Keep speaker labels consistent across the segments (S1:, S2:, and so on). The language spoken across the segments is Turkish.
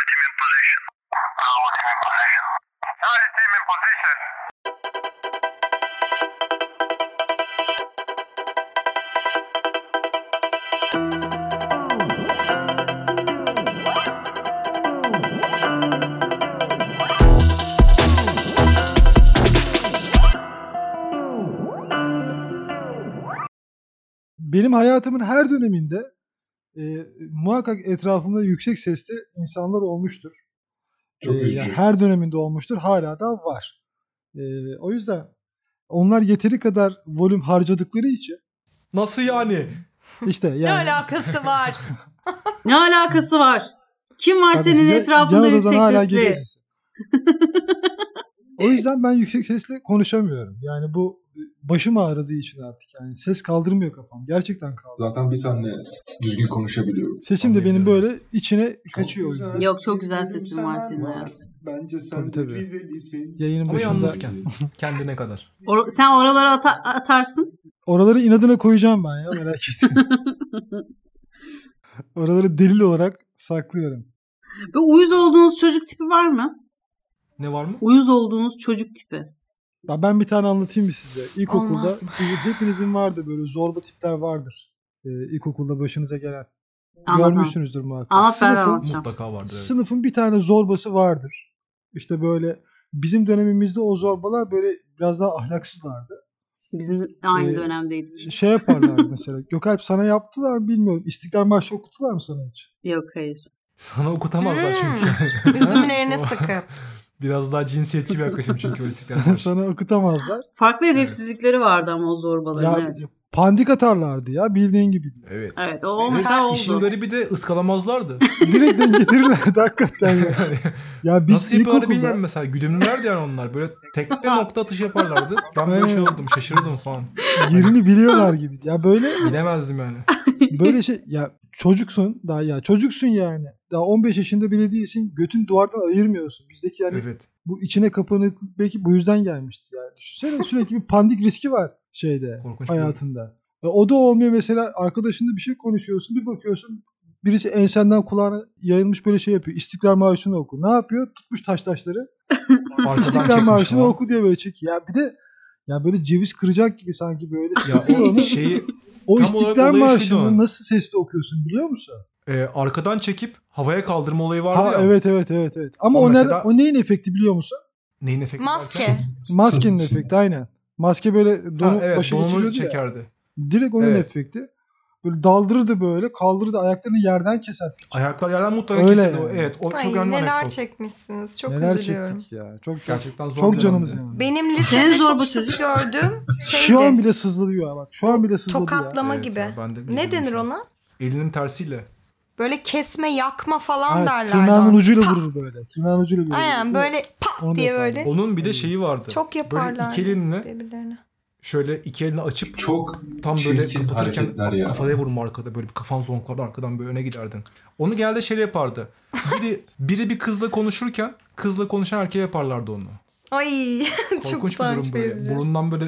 S1: position. Bravo team in position. Nice team in position.
S2: benim hayatımın her döneminde e, muhakkak etrafımda yüksek sesli insanlar olmuştur.
S3: Çok
S4: Ee,
S2: E,
S3: üzücü.
S2: yani her döneminde olmuştur. Hala da var. E, o yüzden onlar yeteri kadar volüm harcadıkları için
S4: Nasıl yani?
S2: işte
S5: Ne
S2: yani
S5: alakası var?
S6: Ne alakası var? Kim var
S2: Tabii
S6: senin
S2: ya-
S6: etrafında
S2: yan odadan
S6: yüksek
S2: hala
S6: sesli?
S2: geliyor sesi. o yüzden ben yüksek sesle konuşamıyorum. Yani bu başım ağrıdığı için artık yani ses kaldırmıyor kafam. Gerçekten kaldırmıyor.
S3: Zaten bir senle düzgün konuşabiliyorum.
S2: Sesim de benim
S4: Anlayabiliyorum.
S2: böyle içine kaçıyor. o yüzden.
S6: Yok, çok güzel sesin var senin hayatım.
S3: Bence
S2: Tabii,
S3: sen Ee,
S2: tabii.
S3: de Rizelisin.
S2: Yayının
S4: Ama
S2: başında.
S4: yalnızken. Kendine kadar.
S6: Or- sen oralara ata- atarsın.
S2: Oraları inadına koyacağım ben ya merak etme. Oraları delil olarak saklıyorum.
S6: Ve uyuz olduğunuz çocuk tipi var mı?
S4: Ne var mı?
S6: Uyuz olduğunuz çocuk tipi.
S2: Ya ben bir tane anlatayım mı size? İlkokulda
S5: Olmaz mı?
S2: sizin hepinizin vardı böyle zorba tipler vardır. Ee, ilkokulda başınıza gelen.
S6: Anlat,
S2: Görmüşsünüzdür muhakkak.
S6: Anlat, ben de
S2: Sınıfın-
S6: anlatacağım.
S4: Mutlaka vardır. evet.
S2: Sınıfın bir tane zorbası vardır. İşte böyle bizim dönemimizde o zorbalar böyle biraz daha ahlaksızlardı.
S6: Bizim aynı
S2: Ee,
S6: dönemdeydik.
S2: Şey yaparlardı mesela. Gökalp sana yaptılar mı bilmiyorum. İstiklal Marşı okuttular mı sana hiç?
S6: Yok hayır.
S4: Sana okutamazlar
S5: Hmm.
S4: çünkü.
S5: Üzümlerine sıkıp.
S4: Biraz daha cinsiyetçi bir yaklaşım çünkü o istiklal Marşı.
S2: sana okutamazlar.
S6: Farklı edepsizlikleri vardı ama o zorbaların.
S2: ya,
S6: evet.
S2: pandik atarlardı ya bildiğin gibi.
S4: Evet.
S6: Evet o
S4: Ve
S6: mesela
S4: İşin
S6: oldu.
S4: garibi de ıskalamazlardı.
S2: Direkt denk getirirlerdi hakikaten ya.
S4: Yani
S2: Ya biz
S4: nasıl
S2: ilkokulda-
S4: yapıyorlar bilmiyorum mesela. Güdümlülerdi yani onlar. Böyle tekte nokta atışı yaparlardı. Ben böyle şey oldum şaşırdım falan.
S2: yerini biliyorlar gibi. Ya böyle
S4: Bilemezdim yani.
S2: böyle şey ya çocuksun daha ya çocuksun yani. Daha 15 yaşında bile değilsin. Götün duvardan ayırmıyorsun. Bizdeki yani
S4: Evet.
S2: bu içine kapanık belki bu yüzden gelmişti yani. Düşünsene sürekli bir pandik riski var şeyde
S4: Korkunç bir-
S2: hayatında. E, o da olmuyor mesela arkadaşınla bir şey konuşuyorsun bir bakıyorsun birisi ensenden kulağına yayılmış böyle şey yapıyor. İstiklal Marşı'nı oku. Ne yapıyor? Tutmuş taş taşları.
S4: Arkadan
S2: İstiklal
S4: çekmiş
S2: Marşı'nı
S4: falan.
S2: oku diye böyle çekiyor. Ya bir de ya böyle ceviz kıracak gibi sanki böyle.
S4: Ya
S2: sıkıyor
S4: o
S2: onu.
S4: şeyi
S2: o
S4: tam olarak
S2: İstiklal
S4: olayı
S2: Marşı'nı
S4: şuydu.
S2: nasıl sesli okuyorsun biliyor musun?
S4: e, arkadan çekip havaya kaldırma olayı vardı
S2: Ha
S4: ya.
S2: evet evet evet evet. Ama
S4: O
S2: o, ner-
S4: mesela-
S2: o neyin efekti biliyor musun?
S4: Neyin efekti?
S5: Maske.
S4: derken?
S2: Maskenin efekti aynen. Maske böyle
S4: Ha,
S2: donu
S4: evet
S2: başı
S4: donunu
S2: geçiriyordu ya.
S4: çekerdi.
S2: Direkt onun
S4: Evet.
S2: efekti. Böyle daldırırdı böyle kaldırırdı ayaklarını yerden keser.
S4: Ayaklar yerden mutlaka
S2: Öyle
S4: kesildi. o.
S2: yani.
S4: Evet o
S5: Ay
S4: çok önemli
S5: neler
S4: anekdot.
S5: çekmişsiniz. Çok
S2: Neler
S5: üzülüyorum.
S2: çektik ya. Çok Gerçekten
S4: Gerçekten zor
S2: çok
S4: bir
S2: canımız
S4: dönemdi.
S2: yani.
S5: Benim
S6: Senin
S5: lisede
S6: zorba
S5: çok sık
S6: çocuk.
S5: gördüm.
S2: Şu an
S5: Şeydi.
S2: bile sızlıyor ya bak. Şu an bile sızlıyor ya.
S5: Tokatlama
S4: Evet
S5: gibi.
S4: ya, ben de biliyorum
S5: ne denir
S4: şu an.
S5: ona?
S4: Elinin tersiyle.
S5: Böyle kesme, yakma falan
S2: Ha,
S5: derlerdi.
S2: tırnağının
S5: ona.
S2: ucuyla vurur böyle. Tırnağının ucuyla vurur.
S5: Aynen böyle
S2: Onu
S5: pat
S2: da
S5: diye
S2: yaparlar.
S5: böyle.
S4: Onun bir de şeyi vardı.
S5: Çok
S4: Böyle
S5: yaparlar.
S4: iki elinle
S5: birbirlerine.
S4: şöyle iki elini açıp
S3: Çok
S4: tam böyle
S3: Çirkin
S4: kapatırken
S3: hareketler ya.
S4: kafaya vurma arkada böyle bir kafan zonklardı arkadan böyle öne giderdin. Onu genelde şey yapardı. Biri, biri bir kızla konuşurken kızla konuşan erkeğe yaparlardı onu.
S5: Ay çok
S4: Korkunç bir
S5: utanç
S4: durum böyle.
S5: verici.
S4: Burundan böyle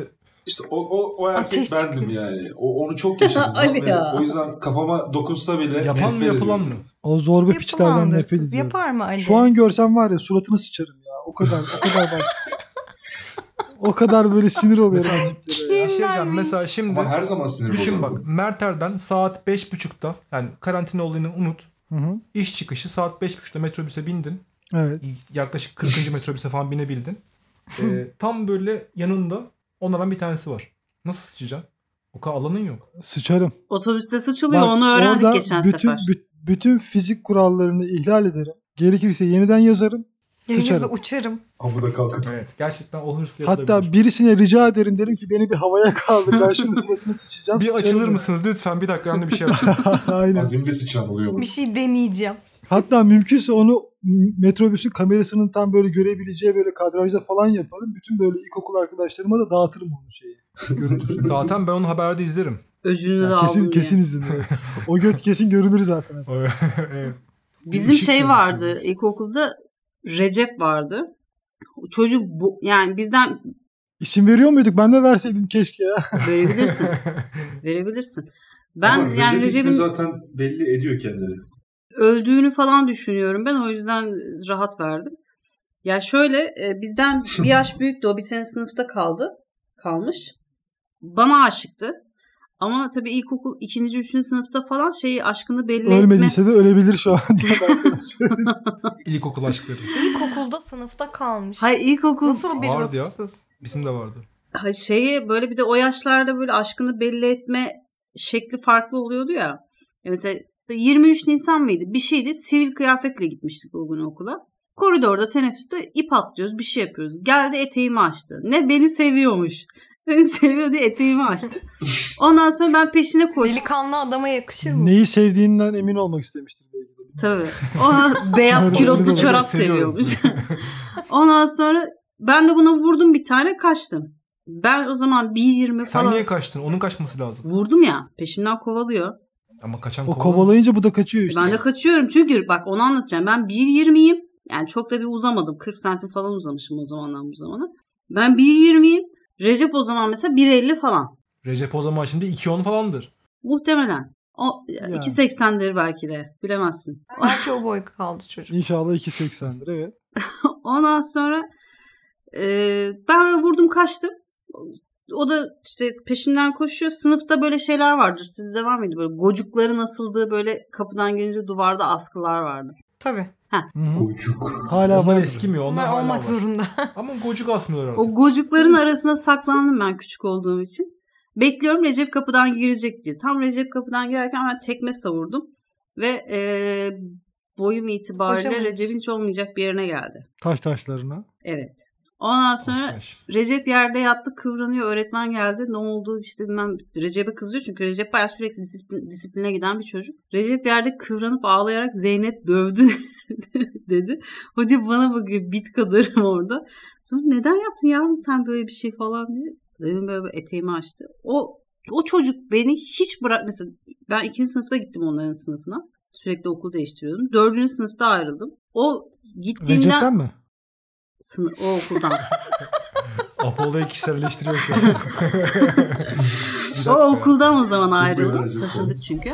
S3: işte o, o, o erkek
S5: Ateş
S3: bendim yani. O, onu çok yaşadım.
S6: Ali
S3: Ve
S6: ya.
S3: O yüzden kafama dokunsa bile
S4: yapan mı
S3: nefret
S4: yapılan
S3: ediyorum.
S4: mı?
S2: O zorba piçlerden
S5: Yapılandır
S2: nefret
S5: kız.
S2: ediyorum.
S5: Yapar mı Ali?
S2: Şu an görsem var ya suratını sıçarım ya. O kadar o kadar bak. o kadar böyle sinir oluyorum. o tiplere ya.
S4: Ya şey diyeceğim, mesela şimdi
S3: Ama her zaman sinir
S4: düşün bak
S3: bozuyorum.
S4: Mert Erden saat 5.30'da yani karantina olayını unut.
S2: Hı hı.
S4: İş çıkışı saat 5.30'da metrobüse bindin.
S2: Evet.
S4: Yaklaşık 40. metrobüse falan binebildin. Ee, tam böyle yanında onlardan bir tanesi var. Nasıl sıçacaksın? O kadar alanın yok.
S2: Sıçarım.
S6: Otobüste sıçılıyor
S2: Bak,
S6: onu öğrendik
S2: orada
S6: geçen
S2: bütün,
S6: sefer.
S2: büt- bütün fizik kurallarını ihlal ederim. Gerekirse yeniden yazarım.
S5: Yeryüzü
S2: Sıçarım.
S5: uçarım.
S3: Ama da kalkıp
S4: Evet. Gerçekten o hırsla
S2: Hatta
S4: yapılabilir.
S2: birisine rica ederim derim ki beni bir havaya kaldır. Ben şunun suratına sıçacağım.
S4: bir
S2: sıçarım
S4: açılır
S2: derim.
S4: mısınız lütfen bir dakika ben de bir şey yapacağım.
S2: Aynen.
S3: azimli sıçan oluyor bu.
S5: Bir şey deneyeceğim.
S2: Hatta mümkünse onu m- metrobüsün kamerasının tam böyle görebileceği böyle kadrajda falan yaparım. Bütün böyle ilkokul arkadaşlarıma da dağıtırım onu şeyi. Görüntüsünü.
S4: Zaten ben onu haberde izlerim.
S6: Öcünü de
S2: Ya
S6: aldım
S2: kesin
S6: diye.
S2: kesin izledim. evet. O göt kesin görünür zaten.
S4: Evet.
S6: Bizim
S4: Işık
S6: şey
S4: gözüküyor.
S6: vardı ilkokulda Recep vardı. Çocuk bu, yani bizden
S2: İsim veriyor muyduk? Ben de verseydim keşke ya.
S6: verebilirsin. verebilirsin. şey- Ben
S3: Ama
S6: yani
S3: Recep ismi
S6: Recep'in
S3: zaten belli ediyor kendini.
S6: öldüğünü falan düşünüyorum ben. O yüzden rahat verdim. Ya şöyle e, bizden bir yaş büyüktü. O bir sene sınıfta kaldı. Kalmış. Bana aşıktı. Ama tabii ilkokul ikinci, üçüncü sınıfta falan şeyi aşkını belli etme.
S2: Ölmediyse de ölebilir şu an. diye ben sana söyleyeyim.
S4: İlkokul aşkları.
S5: İlkokulda sınıfta kalmış.
S6: Hayır ilkokul
S5: Nasıl bir
S4: Vardı ya.
S5: vasıfsız?
S4: Bizim de vardı.
S6: ha, şeyi böyle bir de o yaşlarda böyle aşkını belli etme şekli farklı oluyordu ya. Ya Mesela 23 Nisan mıydı? Bir şeydi. Sivil kıyafetle gitmiştik o gün okula. Koridorda teneffüste ip atlıyoruz, bir şey yapıyoruz. Geldi eteğimi açtı. Ne beni seviyormuş. Beni seviyor diye eteğimi açtı. Ondan sonra ben peşine koştum.
S5: Delikanlı adama yakışır mı?
S2: Neyi sevdiğinden emin olmak istemiştir belki de.
S6: Tabii. O beyaz
S2: Doğru,
S6: kilotlu
S2: doğru.
S6: çorap
S4: Seviyorum.
S6: seviyormuş. Ondan sonra ben de buna vurdum bir tane kaçtım. Ben o zaman 1.20
S4: Sen
S6: falan
S4: niye kaçtın? Onun kaçması lazım.
S6: vurdum ya peşimden kovalıyor.
S4: Ama kaçan
S2: O
S4: kovalı.
S2: kovalayınca bu da kaçıyor işte.
S6: Ben de kaçıyorum çünkü bak onu anlatacağım. Ben 1.20'yim. Yani çok da bir uzamadım. 40 santim falan uzamışım o zamandan bu zamana. Ben 1.20'yim. Recep o zaman mesela 1.50 falan.
S4: Recep o zaman şimdi 2.10 falandır.
S6: Muhtemelen. O
S2: Yani.
S6: 2.80'dir belki de. Bilemezsin.
S5: Belki o boy kaldı çocuk.
S2: İnşallah 2.80'dir evet.
S6: Ondan sonra e, ben böyle vurdum kaçtım. O da işte peşimden koşuyor. Sınıfta böyle şeyler vardır. Sizde var mıydı böyle gocukların asıldığı böyle kapıdan gelince duvarda askılar vardı.
S5: Tabii.
S3: Gocuk.
S2: Hala
S4: Onlar
S2: var.
S4: eskimiyor. Onlar,
S5: Bunlar
S4: hala
S5: olmak
S4: var.
S5: zorunda.
S4: Ama gocuk asmıyor artık.
S6: O gocukların arasına saklandım ben küçük olduğum için. Bekliyorum Recep kapıdan girecek diye. Tam Recep kapıdan girerken ben tekme savurdum. Ve eee, boyum itibariyle
S5: Kocaman.
S6: Recep'in hiç olmayacak bir yerine geldi.
S2: Taş taşlarına.
S6: Evet. Ondan
S4: Taş
S6: sonra
S4: taş.
S6: Recep yerde yattı kıvranıyor. Öğretmen geldi. Ne oldu işte bilmem. Recep'e kızıyor çünkü Recep bayağı sürekli disiplin- disipline giden bir çocuk. Recep yerde kıvranıp ağlayarak Zeynep dövdü dedi. Hoca bana bakıyor bit kadarım orada. Sonra neden yaptın yavrum sen böyle bir şey falan diye. Dedim böyle bir eteğimi açtı. O o çocuk beni hiç bırak mesela ben ikinci sınıfta gittim onların sınıfına. Sürekli okul değiştiriyordum. Dördüncü sınıfta ayrıldım. O gittiğimden
S2: Recep'ten mi?
S6: sınıf, o okuldan.
S4: Apollo'yu kişiselleştiriyor şu an.
S6: o okuldan o zaman ayrıldım.
S3: Beylerce
S6: Taşındık çünkü.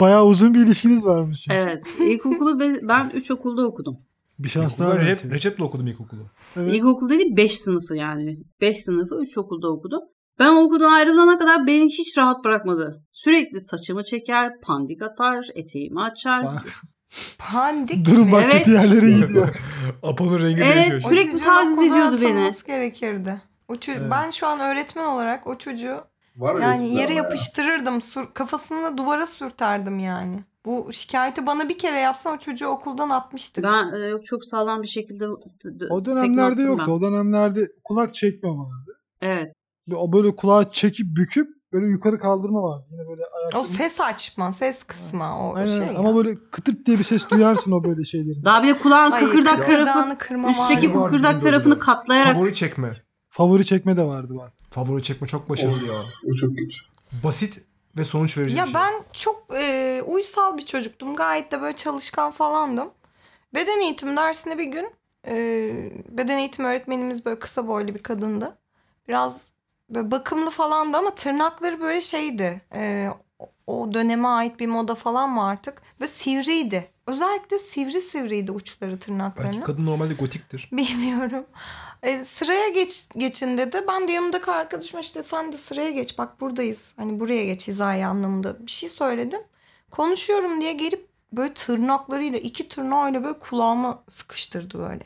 S2: Bayağı uzun bir ilişkiniz varmış. ya.
S6: Evet. İlkokulu be- ben 3 okulda okudum.
S2: Bir şans
S4: İlkokulu
S2: daha
S4: ben
S2: ver.
S4: Recep, Recep'le okudum ilkokulu.
S2: Evet.
S6: İlkokul değil 5 sınıfı yani. 5 sınıfı 3 okulda okudum. Ben o okuldan ayrılana kadar beni hiç rahat bırakmadı. Sürekli saçımı çeker, pandik atar, eteğimi açar.
S2: Bak.
S5: Pandik
S2: Durun bak
S6: Evet.
S2: kötü yerlere gidiyor.
S4: Apollo rengi değişiyor.
S6: evet
S4: şimdi.
S6: sürekli
S5: Çocuğun
S6: taciz
S5: okuldan
S6: ediyordu beni.
S5: atılması gerekirdi. O ço-
S2: Evet.
S5: Ben şu an öğretmen olarak o çocuğu
S3: Var öyle
S5: yani
S3: tipler
S5: yere
S3: ama ya.
S5: yapıştırırdım. Sur, kafasını duvara sürterdim yani. Bu şikayeti bana bir kere yapsan o çocuğu okuldan atmıştık.
S6: Ben e, çok sağlam bir şekilde d- d-
S2: O
S6: tekme
S2: dönemlerde
S6: attım
S2: yoktu. O dönemlerde kulak çekme vardı.
S6: ben. Evet.
S2: Bir- O böyle kulağı çekip büküp böyle yukarı kaldırma vardı. Yine böyle
S5: O ses açma, ses kısma o
S2: Aynen,
S5: şey.
S2: ama böyle kıtırt diye bir ses duyarsın o böyle şeylerin.
S6: Daha bir de kulağın
S5: Ay,
S6: kıkırdak tarafı,
S5: kıkırdağını kırmama
S6: üstteki
S5: hali.
S4: bu- Bizim de
S6: kıkırdak
S4: öyle
S6: tarafını
S4: var.
S6: katlayarak
S4: Favori çekme.
S2: Favori çekme de vardı bak.
S4: Favori çekme çok başarılı ya.
S3: O çok kötü.
S4: Basit ve sonuç verici
S5: Ya
S4: bir şey.
S5: ben çok e, uysal bir çocuktum. Gayet de böyle çalışkan falandım. Beden eğitim dersinde bir gün e, beden eğitimi öğretmenimiz böyle kısa boylu bir kadındı. Biraz böyle bakımlı falandı ama tırnakları böyle şeydi. E, o- o döneme ait bir moda falan mı artık? Böyle sivriydi. Özellikle sivri sivriydi uçları
S4: Belki
S5: tırnaklarının.
S4: kadın normalde gotiktir.
S5: Bilmiyorum. E, sıraya geç, geçin dedi. Ben de yanımdaki arkadaşıma işte sen de sıraya geç bak buradayız. Hani buraya geç hizaya anlamında bir şey söyledim. Konuşuyorum diye gelip böyle tırnaklarıyla iki tırnağıyla böyle kulağıma sıkıştırdı böyle.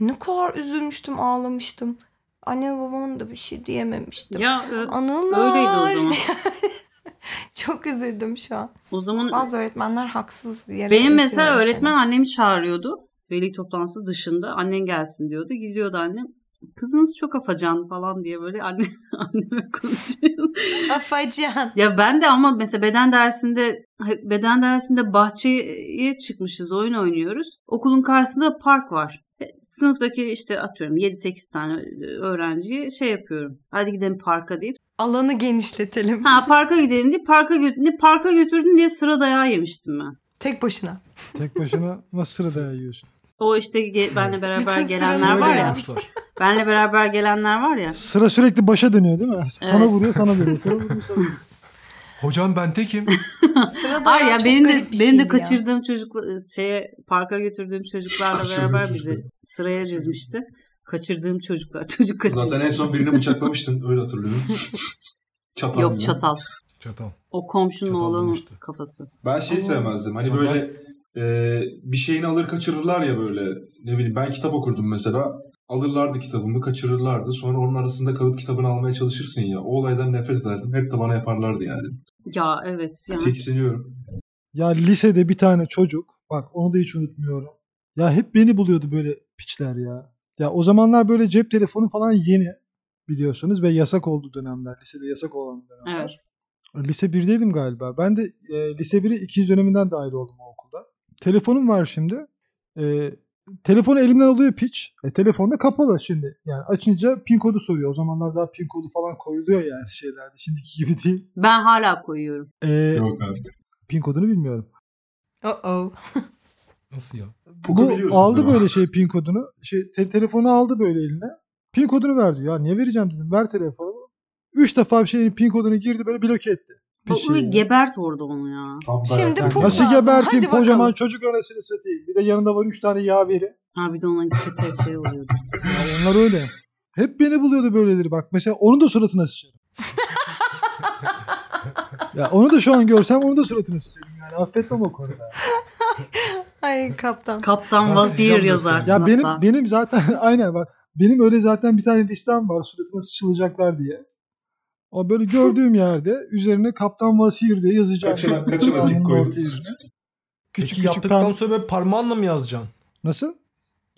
S5: Ne kadar üzülmüştüm ağlamıştım. Anne babamın da bir şey diyememiştim.
S6: ya e,
S5: Anılar.
S6: öyleydi o zaman.
S5: diye. Çok üzüldüm şu an.
S6: o zaman
S5: Bazı öğretmenler haksız yere
S6: Benim mesela
S5: eğitiyorlar
S6: öğretmen
S5: şeyler.
S6: annemi çağırıyordu. Veli toplantısı dışında annen gelsin diyordu. Gidiyordu annem. Kızınız çok afacan falan diye böyle anne, anneme konuşuyordu.
S5: hani. Afacan.
S6: ya ben de ama mesela beden dersinde beden dersinde bahçeye çıkmışız oyun oynuyoruz. Okulun karşısında park var. E, Sınıftaki işte atıyorum 7-8 tane e, öğrenciye şey yapıyorum. Hadi gidelim parka deyip.
S5: Alanı genişletelim.
S6: Ha parka gidelim diye parka götürdün, parka götürdün diye sıra dayağı yemiştim ben.
S5: Tek başına.
S2: Tek başına nasıl sıra dayağı yiyorsun?
S6: O işte ge- benle beraber
S5: Bütün
S6: gelenler
S5: sınıfı
S6: var
S4: Öyle
S6: ya.
S4: yapmışlar.
S6: Benle beraber gelenler var ya.
S2: Sıra sürekli başa dönüyor değil mi? Sana
S6: Evet.
S2: vuruyor, sana vuruyor, sana vuruyor, sana vuruyor.
S4: Hocam ben tekim.
S5: Sırada
S6: Hayır ya
S5: çok
S6: benim de
S5: garip bir
S6: benim de
S5: şeydi ya.
S6: kaçırdığım çocukla e, şeye parka götürdüğüm çocuklarla
S3: Kaçırdığım
S6: beraber
S3: çocuklar.
S6: bizi sıraya dizmişti. Kaçırdığım çocuklar. Çocuk kaçırdı.
S3: Zaten en son birini bıçaklamıştın öyle hatırlıyorum. Çatal
S6: Yok
S3: gibi.
S6: çatal.
S4: Çatal.
S6: O komşunun
S4: Çatal
S6: oğlanın
S4: bulmuştu.
S6: kafası.
S3: Ben şey
S6: Ama-
S3: sevmezdim. Hani
S4: Ama-
S3: böyle e, bir şeyini alır kaçırırlar ya böyle. Ne bileyim ben kitap okurdum mesela. Alırlardı kitabımı kaçırırlardı. Sonra onun arasında kalıp kitabını almaya çalışırsın ya. O olaydan nefret ederdim. Hep de bana yaparlardı yani.
S6: Ya evet. Yani.
S3: Tiksiniyorum.
S2: Ya lisede bir tane çocuk bak onu da hiç unutmuyorum. Ya hep beni buluyordu böyle piçler ya. Ya o zamanlar böyle cep telefonu falan yeni biliyorsunuz ve yasak olduğu dönemler. Lisede yasak olan dönemler. E,
S6: Evet.
S2: Lise 1'deydim galiba. Ben de e, lise 1'e ikinci döneminden dahil oldum o okulda. Telefonum var şimdi. E, telefonu elimden alıyor piç. E, telefon da kapalı şimdi. Yani açınca pin kodu soruyor. O zamanlar daha pin kodu falan koyuluyor yani şeylerde. Şimdiki gibi değil.
S6: Ben hala koyuyorum.
S2: E,
S3: Yok abi.
S2: pin kodunu bilmiyorum.
S5: Uh-oh.
S4: Nasıl ya?
S3: Puka
S2: Bu
S3: biliyorsun
S2: aldı
S3: değil mi?
S2: böyle şey pin kodunu. Şey, te- telefonu aldı böyle eline. Pin kodunu verdi. Ya niye vereceğim dedim. Ver telefonu. Üç defa bir şeyin pin kodunu girdi böyle bloke etti.
S6: Bu
S2: Piçi şey ya.
S6: gebert orada onu ya.
S3: Tam da-
S5: Şimdi
S2: Yani
S5: pul
S2: nasıl
S5: lazım.
S2: geberteyim
S5: Hadi
S2: kocaman
S5: bakalım.
S2: çocuk anasını satayım. Bir de yanında var üç tane yaveri.
S6: Ha bir de ona çete şey oluyordu.
S2: Ya onlar öyle. Hep beni buluyordu böyleleri bak. Mesela onun da suratına sıçarım. ya onu da şu an görsem onun da suratına sıçarım yani. Affetmem o konuda.
S5: Ay kaptan.
S6: Kaptan
S4: Ben
S6: Vazir
S4: sıçacağım
S6: yazarsın
S2: Ya benim
S6: hatta.
S2: benim zaten aynen bak. Benim öyle zaten bir tane listem var suratına sıçılacaklar diye. O böyle gördüğüm yerde üzerine Kaptan Vasir diye yazacağım.
S3: Kaçına- kaçına
S2: Kaptanın
S3: tik koydum.
S2: orta yerine. Küçük
S4: Peki
S2: küçük
S4: yaptıktan
S2: tam...
S4: sonra böyle parmağınla mı yazacaksın?
S2: Nasıl?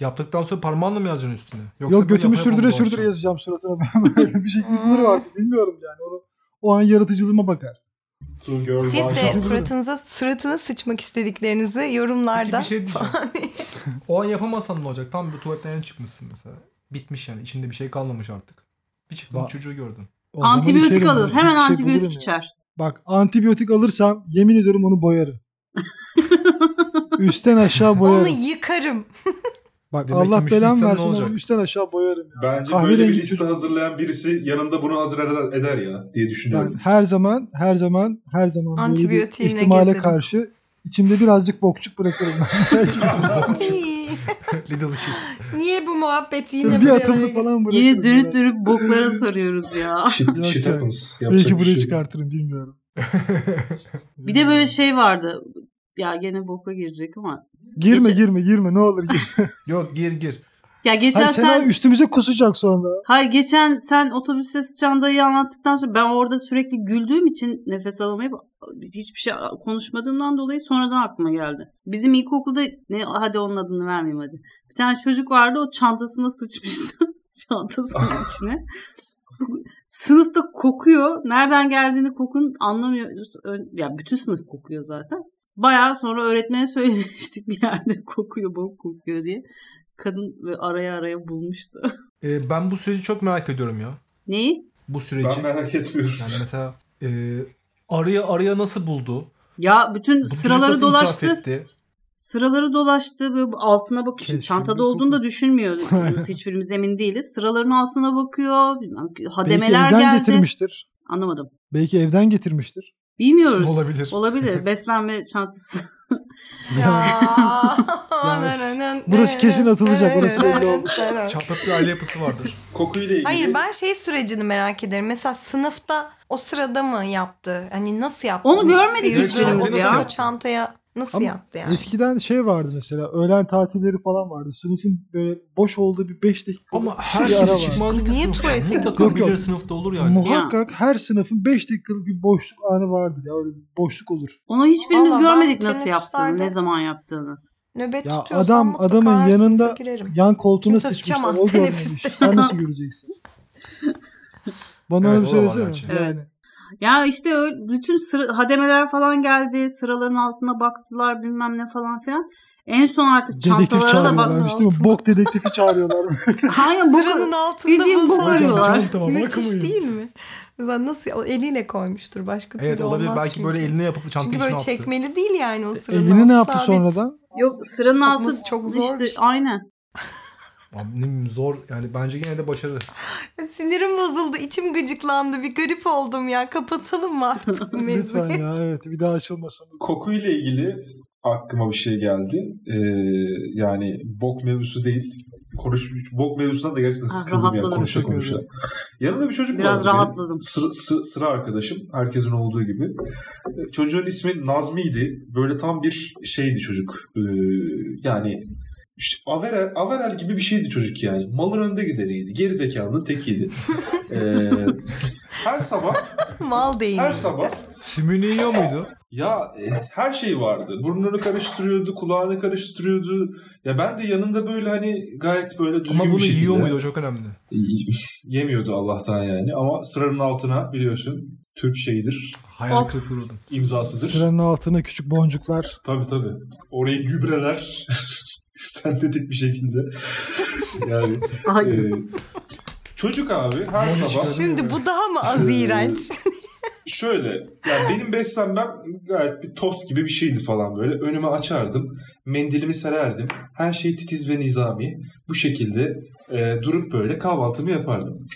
S4: Yaptıktan sonra parmağınla mı yazacaksın üstüne?
S2: Yok
S4: böyle
S2: götümü
S4: yapa yapa mı
S2: sürdüre sürdüre
S4: dolaşacaksın?
S2: yazacağım suratına. Ben böyle bir şekilde var. Bilmiyorum yani. Onu, o an yaratıcılığıma bakar.
S3: Two girl,
S5: Siz
S3: one shot.
S5: de suratınıza suratına sıçmak istediklerinizi yorumlarda.
S4: Peki bir şey diyeceğim. o an yapamazsan ne olacak? Tam bir tuvaletten yeni çıkmışsın mesela. Bitmiş yani. içinde bir şey kalmamış artık. Bir çıktın
S2: Ba-
S4: çocuğu gördün.
S2: O zaman
S6: Antibiyotik
S2: içerim
S6: alır.
S2: yani. Bir
S6: Hemen
S2: şey
S6: antibiyotik
S2: bulurum yani.
S6: içer.
S2: Bak antibiyotik alırsam yemin ediyorum onu boyarım. üstten aşağı
S5: Onu
S2: boyarım.
S5: yıkarım.
S2: Bak
S4: Demek ki
S2: Allah
S4: müşterisi
S2: belamı
S4: ne
S2: versin onu
S4: olacak?
S2: üstten aşağı boyarım. Ya.
S3: Bence böyle
S2: Kahverengi
S3: bir liste hazırlayan birisi yanında bunu hazır eder, eder ya diye
S2: Ben
S3: düşünüyorum.
S2: her zaman her zaman her zaman böyle bir
S5: Antibiyotiğimle
S2: ihtimale
S5: gezerim.
S2: karşı içimde birazcık bokçuk bırakırım.
S5: İyi.
S4: Little shit.
S5: Niye bu muhabbet yine
S2: bir
S5: buraya
S2: atımlı
S5: böyle-
S2: falan bırakırım.
S6: Yine dönüp
S2: ya.
S6: dönüp boklara sarıyoruz ya.
S3: Shit,
S2: Yok
S3: shit
S2: ya.
S3: happens. Yapacak
S2: Belki
S3: bir
S2: buraya
S3: şey yok.
S2: çıkartırım bilmiyorum.
S6: Bir de böyle şey vardı. Ya gene boka girecek ama.
S2: Girme
S6: Geçen-
S2: girme girme ne olur girme.
S4: Yok gir gir.
S6: Ya geçen
S2: Hayır,
S6: sen
S2: Sena üstümüze kusacak sonra.
S6: Hayır geçen sen otobüste sıçandayı anlattıktan sonra ben orada sürekli güldüğüm için nefes alamayıp hiçbir şey konuşmadığımdan dolayı sonradan aklıma geldi. Bizim ilkokulda ne hadi onun adını vermeyeyim hadi. Bir tane çocuk vardı o çantasına sıçmıştı. çantasının içine. Sınıfta kokuyor. Nereden geldiğini kokun anlamıyor. Ya bütün sınıf kokuyor zaten. Bayağı sonra öğretmene söylemiştik bir yerde kokuyor bok kokuyor diye. Kadın ve araya araya bulmuştu.
S4: Ee, ben bu süreci çok merak ediyorum ya.
S6: Neyi?
S4: Bu süreci.
S3: Ben merak etmiyorum.
S4: Yani mesela e, araya araya nasıl buldu?
S6: Ya bütün
S4: Bu çocuk
S6: sıraları
S4: nasıl itiraf
S6: dolaştı.
S4: etti?
S6: Sıraları dolaştı. Böyle bu altına bakıyor. Şimdi
S2: Keşke
S6: Çantada
S2: bir
S6: olduğunu
S2: koku.
S6: da düşünmüyor. Biz hiçbirimiz emin değiliz. Sıraların altına bakıyor. Bilmem,
S2: Belki
S6: Hademeler
S2: evden
S6: geldi.
S2: getirmiştir.
S6: Anlamadım.
S2: Belki evden getirmiştir.
S6: Bilmiyoruz. Olabilir.
S4: Olabilir.
S6: Beslenme çantası.
S5: Ya.
S2: burası kesin atılacak, burası belli oldu.
S4: Çatlak bir aile yapısı vardır.
S3: Kokuyla ilgili
S5: Hayır ben şey sürecini merak ederim. Mesela sınıfta o sırada mı yaptı? Hani nasıl yaptı?
S6: Onu
S5: Nasıl
S6: görmedik
S5: yürüdü?
S4: hiçbirimiz
S5: Onu
S4: ya.
S5: sonra çantaya nasıl
S2: Ama
S5: yaptı yani?
S2: Eskiden şey vardı mesela öğlen tatilleri falan vardı. Sınıfın böyle boş olduğu bir 5 dakika.
S4: Ama
S2: Bir ara var.
S4: herkes çıkmazdı ki
S5: Niye
S4: sınıfta.
S5: tuvalete
S4: Mutlaka
S2: gidiyor?
S4: birileri sınıfta olur yani.
S2: Muhakkak her sınıfın 5 dakikalık bir boşluk anı vardır. Ya öyle bir boşluk olur.
S6: Onu hiçbirimiz
S5: Vallahi ben
S6: görmedik nasıl yaptığını,
S5: teneffüslerde-
S6: ne zaman yaptığını.
S5: Nöbet
S2: Ya
S5: tutuyorsan
S2: adam-
S5: mutlaka
S2: adamın
S5: her sınıfa
S2: yanında-
S5: girerim.
S2: Yan koltuğuna
S5: Kimse
S2: sıçmışlar.
S5: sıçamaz
S2: O
S5: teneffüste.
S2: görmemiş. Sen nasıl göreceksin? Bana şey
S4: Evet,
S2: onu
S4: o da var
S2: söylesene.
S4: gerçi.
S6: Evet. Ya işte öyle, bütün sıra, hademeler falan geldi. Sıraların altına baktılar bilmem ne falan filan. En son artık
S2: Dedektif
S6: çantalara da
S2: çağırıyorlarmış değil
S6: baktılar.
S2: mi? Bok dedektifi çağırıyorlar.
S6: Aynen bu
S5: Sıranın altında
S6: bildiğin bu
S5: bulsa.
S6: arıyorlar.
S5: Müthiş değil mi? Zaten nasıl o eliyle koymuştur başka
S4: Evet
S5: türlü
S4: olabilir.
S5: olmaz
S4: Belki
S5: çünkü.
S4: böyle eline yapıp çantanın
S5: Çünkü
S4: içine
S5: böyle
S4: attı.
S5: çekmeli değil yani o sıranın
S2: E, Elini ne
S5: altı
S2: yaptı
S5: sabit.
S2: sonradan?
S6: Yok sıranın altı
S5: Yapması çok zor bir
S6: işte
S5: şey.
S6: aynen.
S4: Abi zor yani bence yine de başarı.
S5: Sinirim bozuldu, içim gıcıklandı. Bir garip oldum ya. Kapatalım mı artık bu mevzuyu?
S2: Lütfen ya evet bir daha açılmasın.
S3: Kokuyla ilgili aklıma bir şey geldi. Ee, yani bok mevzusu değil. Konuş, bok mevzusundan da gerçekten
S6: Ah,
S3: sıkıldım yani
S6: rahatladım.
S3: konuşa
S2: Teşekkür
S3: konuşa.
S2: ederim.
S3: Yanımda bir çocuk
S6: Biraz
S3: vardı benim.
S6: rahatladım.
S3: Sıra, sı- sıra arkadaşım. Herkesin olduğu gibi. Ee, Çocuğun ismi Nazmi'ydi. Böyle tam bir şeydi çocuk. Ee, yani işte Averel, Averel gibi bir şeydi çocuk yani. Malın önde gideriydi. Geri zekalının tekiydi. Ee, her sabah
S5: Mal değil.
S3: her şey sabah
S4: Sümüğünü yiyor muydu?
S3: ya e, her şey vardı. Burnunu karıştırıyordu, kulağını karıştırıyordu. Ya ben de yanında böyle hani gayet böyle düzgün
S4: Ama bunu
S3: bir şekilde...
S4: yiyor muydu o çok önemli.
S3: Yemiyordu Allah'tan yani ama sıranın altına biliyorsun Türk şeyidir,
S4: Hayal
S6: Of.
S4: kırıklığı uğradım.
S3: imzasıdır.
S2: Sıranın altına küçük boncuklar.
S3: Tabii tabii. Orayı gübreler sentetik bir şekilde. yani
S6: Ay,
S3: e, çocuk abi her
S4: Bunu
S3: sabah
S4: çıkarıyor.
S5: Şimdi bu daha mı az iğrenç?
S3: Şöyle yani benim beslenmem gayet bir tost gibi bir şeydi falan böyle. Önüme açardım. Mendilimi sererdim. Her şey titiz ve nizami. Bu şekilde e, durup böyle kahvaltımı yapardım.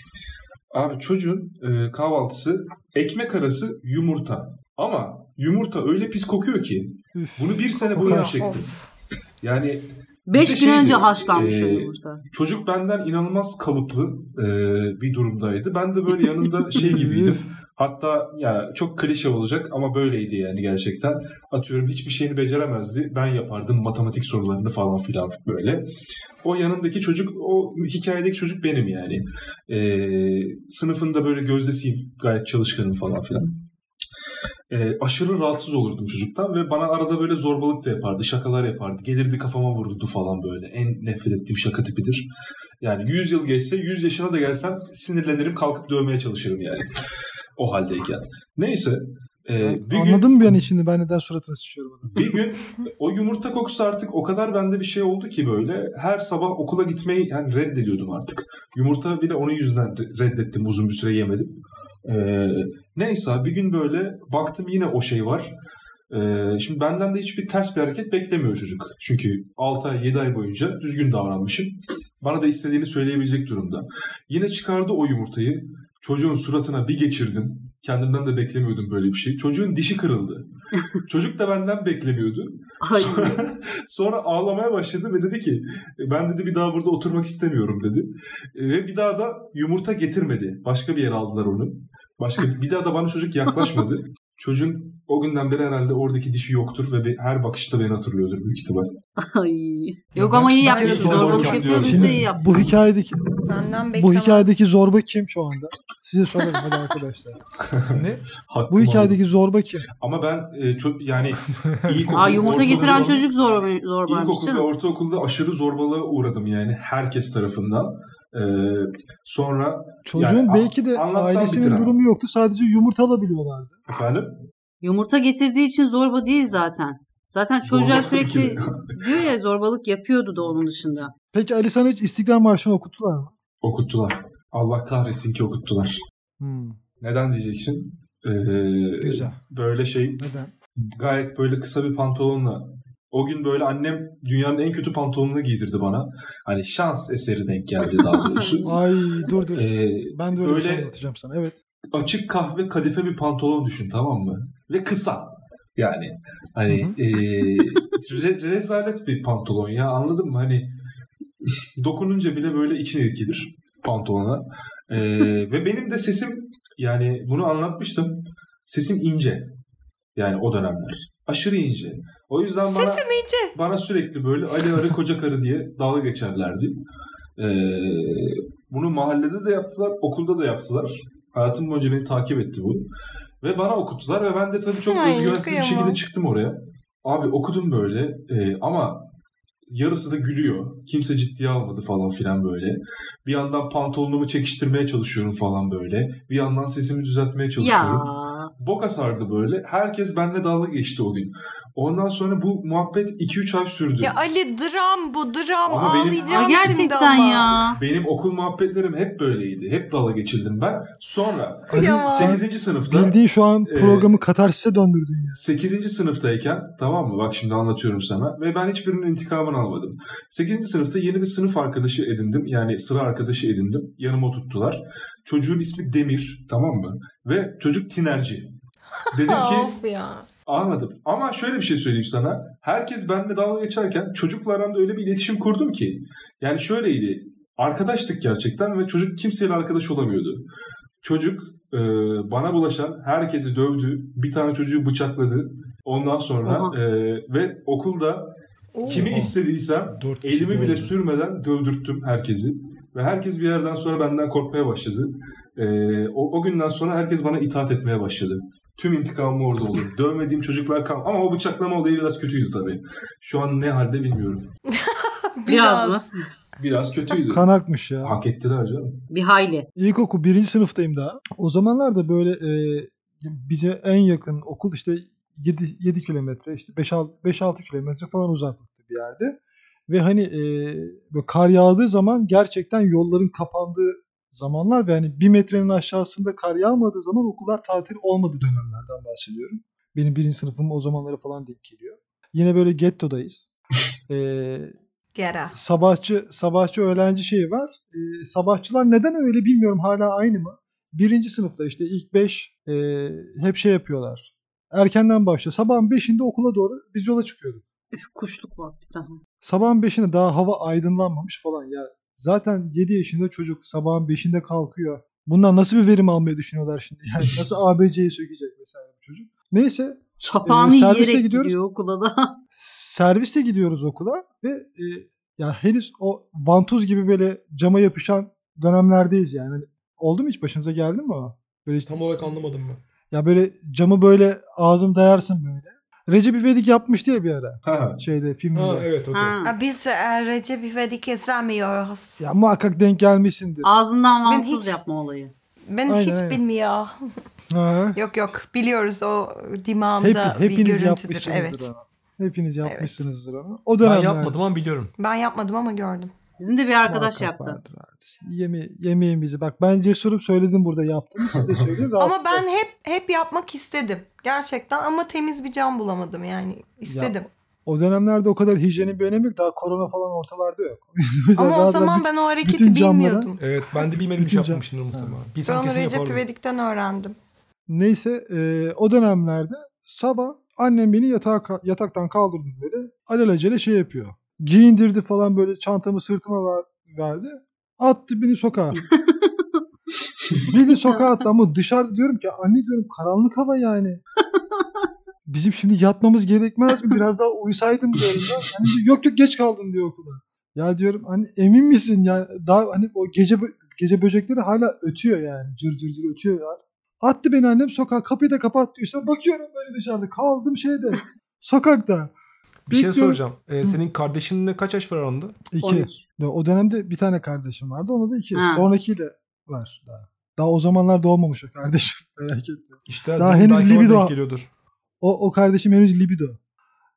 S3: Abi çocuğun e, kahvaltısı ekmek arası yumurta. Ama yumurta öyle pis kokuyor ki.
S2: Üf.
S3: Bunu bir sene
S2: Kokar.
S3: boyunca çektim.
S5: Of.
S3: Yani
S6: Beş
S3: Bir
S6: gün
S3: de
S2: şey
S3: şeydi,
S6: önce haşlanmış
S3: e,
S6: o yumurta.
S3: çocuk benden inanılmaz kalıplı e, bir durumdaydı. Ben de böyle yanında şey gibiydim. Hatta ya çok klişe olacak ama böyleydi yani gerçekten. Atıyorum hiçbir şeyini beceremezdi. Ben yapardım matematik sorularını falan filan böyle. O yanındaki çocuk, o hikayedeki çocuk benim yani. Ee, sınıfında böyle gözdesiyim. Gayet çalışkanım falan filan. Ee, aşırı rahatsız olurdum çocuktan ve bana arada böyle zorbalık da yapardı, şakalar yapardı. Gelirdi kafama vururdu falan böyle. En nefret ettiğim şaka tipidir. Yani 100 yıl geçse, 100 yaşına da gelsem sinirlenirim, kalkıp dövmeye çalışırım yani o haldeyken. Neyse. E, bir gün,
S2: Anladın mı beni şimdi ben neden suratına sıçıyorum? adamın?
S3: bir gün o yumurta kokusu artık o kadar bende bir şey oldu ki böyle her sabah okula gitmeyi yani reddediyordum artık. Yumurta bile onun yüzünden re- reddettim uzun bir süre yemedim. Ee, neyse bir gün böyle baktım yine o şey var. Ee, şimdi benden de hiçbir ters bir hareket beklemiyor çocuk. Çünkü 6 ay 7 ay boyunca düzgün davranmışım. Bana da istediğini söyleyebilecek durumda. Yine çıkardı o yumurtayı. Çocuğun suratına bir geçirdim. Kendimden de beklemiyordum böyle bir şey. Çocuğun dişi kırıldı. Çocuk da benden beklemiyordu.
S6: Ay.
S3: Sonra, sonra ağlamaya başladı ve dedi ki "E, ben dedi bir daha burada oturmak istemiyorum dedi. E, Ve bir daha da yumurta getirmedi. Başka bir yere aldılar onu. Başka bir daha da bana çocuk yaklaşmadı. Çocuğun o günden beri herhalde oradaki dişi yoktur ve be- her bakışta beni hatırlıyordur büyük ihtimal.
S6: Ay. Yok
S4: ben-
S6: ama iyi
S4: ben
S6: yapmışsın.
S3: kere zorbalık
S6: Zorbalık
S3: yapıyorum.
S6: yapıyorsa
S2: Şimdi
S6: iyi yapmışsın.
S2: Şey bu hikayedeki
S5: Benden
S2: bu
S5: beklemem.
S2: hikayedeki zorba kim şu anda? Size sorarım hadi arkadaşlar.
S4: Ne?
S3: Hakkım
S2: Bu
S3: var.
S2: hikayedeki zorba kim?
S3: Ama ben e, çok yani ilkokul,
S6: Aa, yumurta
S3: ortaokul-
S6: getiren çocuk zor, zorbanmış
S3: İlkokul ve
S6: canım.
S3: ortaokulda aşırı zorbalığa uğradım yani herkes tarafından. E, sonra
S2: Çocuğun
S3: Yani a-
S2: belki de
S3: anlatsam
S2: ailesinin
S3: bitiremem.
S2: durumu yoktu. Sadece yumurta alabiliyorlardı.
S3: efendim
S6: Yumurta getirdiği için zorba değil zaten. Zaten çocuğa
S3: Zorbalık tabii ki
S6: sürekli diyor ya zorbalık yapıyordu da onun dışında.
S2: Peki Ali sana hiç İstiklal Marşı'nı okuttular mı?
S3: okuttular. Allah kahretsin ki okuttular.
S2: Hmm,
S3: Neden diyeceksin? Ee,
S2: güzel.
S3: Böyle şey
S2: Neden?
S3: gayet böyle kısa bir pantolonla. O gün böyle annem dünyanın en kötü pantolonunu giydirdi bana. Hani şans eseri denk geldi daha doğrusu.
S2: Ay dur dur.
S3: Ee,
S2: ben de öyle, bir şey
S3: böyle-
S2: anlatacağım sana. Evet.
S3: açık kahve kadife bir pantolon düşün tamam mı? Ve kısa. Yani hani
S2: Hı
S3: ee, re- rezalet bir pantolon ya anladın mı? Hani dokununca bile böyle için irkilir pantolona. Ee, ve benim de sesim yani bunu anlatmıştım. Sesim ince. Yani o dönemler. Aşırı ince. O yüzden bana
S5: Sesim ince.
S3: bana sürekli böyle Ali Arı Koca Karı diye dalga geçerlerdi. Ee, bunu mahallede de yaptılar, okulda da yaptılar. Hayatım boyunca beni takip etti bu. Ve bana okuttular ve ben de tabii çok
S5: Ay,
S3: özgüvensiz bir
S5: kıyamam.
S3: şekilde çıktım oraya. Abi okudum böyle e, ama yarısı da gülüyor. Kimse ciddiye almadı falan filan böyle. Bir yandan pantolonumu çekiştirmeye çalışıyorum falan böyle. Bir yandan sesimi düzeltmeye
S6: Ya.
S3: çalışıyorum. boka sardı böyle. Herkes benimle dalga geçti o gün. Ondan sonra bu muhabbet 2-3 ay sürdü.
S5: Ya Ali dram bu dram
S3: Ama benim-
S6: Ay,
S5: ağlayacağım şimdi
S6: gerçekten
S5: ama.
S6: ya.
S3: Benim okul muhabbetlerim hep böyleydi. Hep dalga geçildim ben. Sonra
S5: Kıyamam.
S3: 8. sınıfta
S2: Bildiğin şu an
S3: Ee,
S2: programı katarsise döndürdün ya.
S3: 8. sınıftayken tamam mı bak şimdi anlatıyorum sana ve ben hiçbirinin intikamını almadım. 8. sınıfta yeni bir sınıf arkadaşı edindim yani sıra arkadaşı edindim yanıma oturttular. Çocuğun ismi Demir tamam mı ve çocuk tinerci. Dedim ki
S5: Of ya.
S3: anladım ama şöyle bir şey söyleyeyim sana herkes benimle dalga geçerken çocukla aramda öyle bir iletişim kurdum ki yani şöyleydi arkadaştık gerçekten ve çocuk kimseyle arkadaş olamıyordu. Çocuk e, bana bulaşan herkesi dövdü. Bir tane çocuğu bıçakladı. Ondan sonra
S6: Oha.
S3: e, ve okulda
S5: Oo.
S3: kimi istediysem
S4: Dört kişi
S3: elimi bile
S4: doğru.
S3: sürmeden dövdürttüm herkesi. Ve herkes bir yerden sonra benden korkmaya başladı. E, o, o günden sonra herkes bana itaat etmeye başladı. Tüm intikamım orada oldu. Dövmediğim çocuklar kal. Ama o bıçaklama olayı biraz kötüydü tabii. Şu an ne halde bilmiyorum.
S6: Biraz mı?
S3: Biraz kötüydü.
S2: Kan akmış ya.
S3: Hak ettiler canım.
S6: Bir hayli.
S2: İlkokul birinci sınıftayım daha. O zamanlarda böyle e, bize en yakın okul işte 7, 7 kilometre işte 5-6 kilometre falan uzaklıkta bir yerde. Ve hani e, böyle kar yağdığı zaman gerçekten yolların kapandığı zamanlar ve hani bir metrenin aşağısında kar yağmadığı zaman okullar tatil olmadığı dönemlerden bahsediyorum. Benim birinci sınıfım o zamanlara falan denk geliyor. Yine böyle E, gettodayız. Eee
S5: Gera.
S2: sabahçı sabahçı öğlenci şeyi var. Ee, sabahçılar neden öyle bilmiyorum hala aynı mı? Birinci sınıfta işte ilk beş e, hep şey yapıyorlar. Erkenden başlıyor. Sabahın beşinde okula doğru biz yola çıkıyorduk.
S6: Üf, kuşluk vakti daha.
S2: Sabahın beşinde daha hava aydınlanmamış falan ya. Zaten 7 yaşında çocuk sabahın beşinde kalkıyor. Bundan nasıl bir verim almayı düşünüyorlar şimdi? Yani nasıl ABC'yi sökecek mesela bu çocuk? Neyse
S6: Çapağını
S2: Ee, serviste
S6: yiyerek
S2: gidiyoruz.
S6: gidiyor okula da.
S2: serviste gidiyoruz okula ve e, ya henüz o vantuz gibi böyle cama yapışan dönemlerdeyiz yani. Hani Oldu mu hiç başınıza geldi mi o? Böyle
S4: Tam olarak anlamadım ben.
S2: ya böyle camı böyle ağzın dayarsın böyle. Recep İvedik yapmış diye bir ara
S3: Ha.
S2: şeyde filmde.
S4: Ha evet okey.
S6: Ha.
S5: Ya Biz e, Recep İvedik izlemiyoruz.
S2: Ya muhakkak denk gelmişsindir.
S6: Ağzından
S5: Ben
S6: vantuz
S5: hiç-
S6: yapma olayı.
S5: Ben
S2: Aynen,
S5: hiç
S2: aynen.
S5: bilmiyor.
S2: Ha.
S5: Yok yok biliyoruz o
S2: Hep,
S5: dimağımda bir
S2: hepiniz
S5: görüntüdür.
S2: yapmışsınızdır
S5: Evet.
S2: onu. Hepiniz yapmışsınızdır onu. O dönemler.
S4: Ben yapmadım ama biliyorum.
S5: Ben yapmadım ama gördüm.
S6: Bizim de bir arkadaş
S2: muhakkak
S6: yaptı.
S2: vardır abi. Şimdi Yeme yemeyin bizi. Bak ben cesurum söyledim burada yaptım. Siz de söyleyin.
S5: Ama ben
S2: rahatlayacaksınız.
S5: hep hep yapmak istedim. Gerçekten ama temiz bir cam bulamadım yani. istedim.
S2: O dönemlerde o kadar hijyenin bir önemi yok. Daha korona falan ortalarda yok. O yüzden
S5: ama o
S2: daha-
S5: zaman
S2: daha
S5: ben o hareketi
S2: bütün camlara-
S5: bilmiyordum.
S4: Evet ben de bilmediğim iş
S2: Bütün can-
S4: yapmamışımdır muhtemelen.
S5: Ben
S4: Bilsem
S5: onu
S2: şey
S4: kesin
S5: Recep
S4: yapardım.
S5: İvedik'ten öğrendim.
S2: Neyse e, o dönemlerde sabah annem beni yatağa, ka- yataktan kaldırdı böyle. Alelacele şey yapıyor. Giyindirdi falan böyle çantamı sırtıma ver, verdi. Attı beni sokağa. beni sokağa attı ama dışarıda diyorum ki anne diyorum karanlık hava yani. Bizim şimdi yatmamız gerekmez mi? Biraz daha uyusaydım diyorum. Ya. Hani diyor, yok yok geç kaldın diyor okula. Ya diyorum hani emin misin yani daha hani o gece bö- gece böcekleri hala ötüyor yani cır cır cır ötüyor ya. Attı beni annem sokağa kapıyı da kapattıysa bakıyorum böyle dışarıda kaldım şeyde sokakta.
S4: Bir şey
S2: Bekliyorum.
S4: soracağım. Ee, senin kardeşinle kaç yaş var aranda?
S2: İki.
S6: 13.
S2: Ya O dönemde bir tane kardeşim vardı ona da iki.
S6: Ha.
S2: Sonrakiyle var daha. Daha o zamanlar doğmamış o kardeşim merak etme.
S4: İşte
S2: Daha
S4: benim
S2: henüz
S4: belki bana
S2: libido-
S4: denk geliyordur.
S2: O, o kardeşim henüz libido.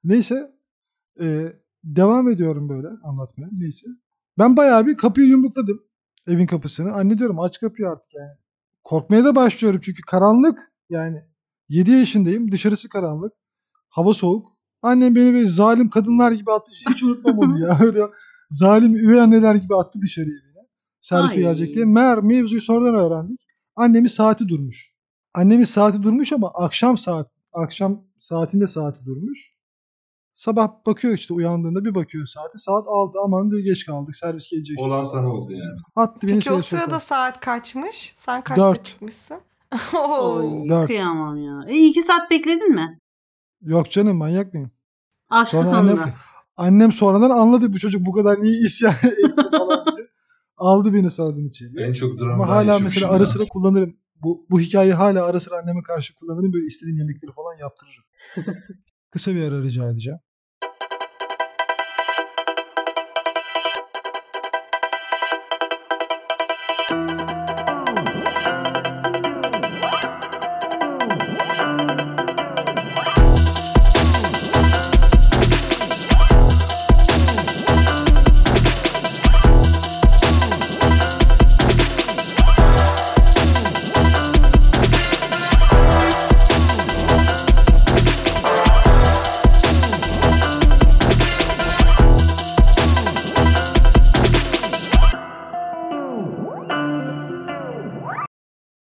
S2: Neyse. e, devam ediyorum böyle anlatmaya. Neyse. Ben bayağı bir kapıyı yumrukladım. Evin kapısını. Anne diyorum aç kapıyı artık yani. Korkmaya da başlıyorum çünkü karanlık. Yani 7 yaşındayım. Dışarısı karanlık. Hava soğuk. Annem beni böyle zalim kadınlar gibi attı. Hiç unutmam onu ya. Öyle zalim üvey anneler gibi attı dışarıya beni. Servis
S6: Ay.
S2: gelecek diye. Meğer mevzuyu sonradan öğrendik. Annemin saati durmuş. Annemin saati durmuş ama akşam saat akşam saatinde saati durmuş. Sabah bakıyor işte uyandığında bir bakıyor saate. Saat 6 aman diyor geç kaldık servis gelecek.
S3: Olan sana oldu yani.
S2: Attı beni
S5: Peki o
S2: şöyle
S5: sırada
S2: sokağa.
S5: saat kaçmış? Sen kaçta
S2: şey Dört.
S5: çıkmışsın? Oo.
S6: Oy,
S2: Dört.
S6: kıyamam ya. E, iki saat bekledin mi?
S2: Yok canım manyak mıyım?
S6: Açtı
S2: Sonra
S6: sonunda.
S2: annem- Annem sonradan anladı bu çocuk bu kadar niye isyan etti falan diye. Aldı beni sonradan içeri.
S3: En çok dramdan
S2: Ama hala
S3: yaşamışım
S2: mesela
S3: ya.
S2: ara sıra kullanırım. Bu, bu hikayeyi hala ara sıra anneme karşı kullanırım. Böyle istediğim yemekleri falan yaptırırım. Kısa bir ara rica edeceğim.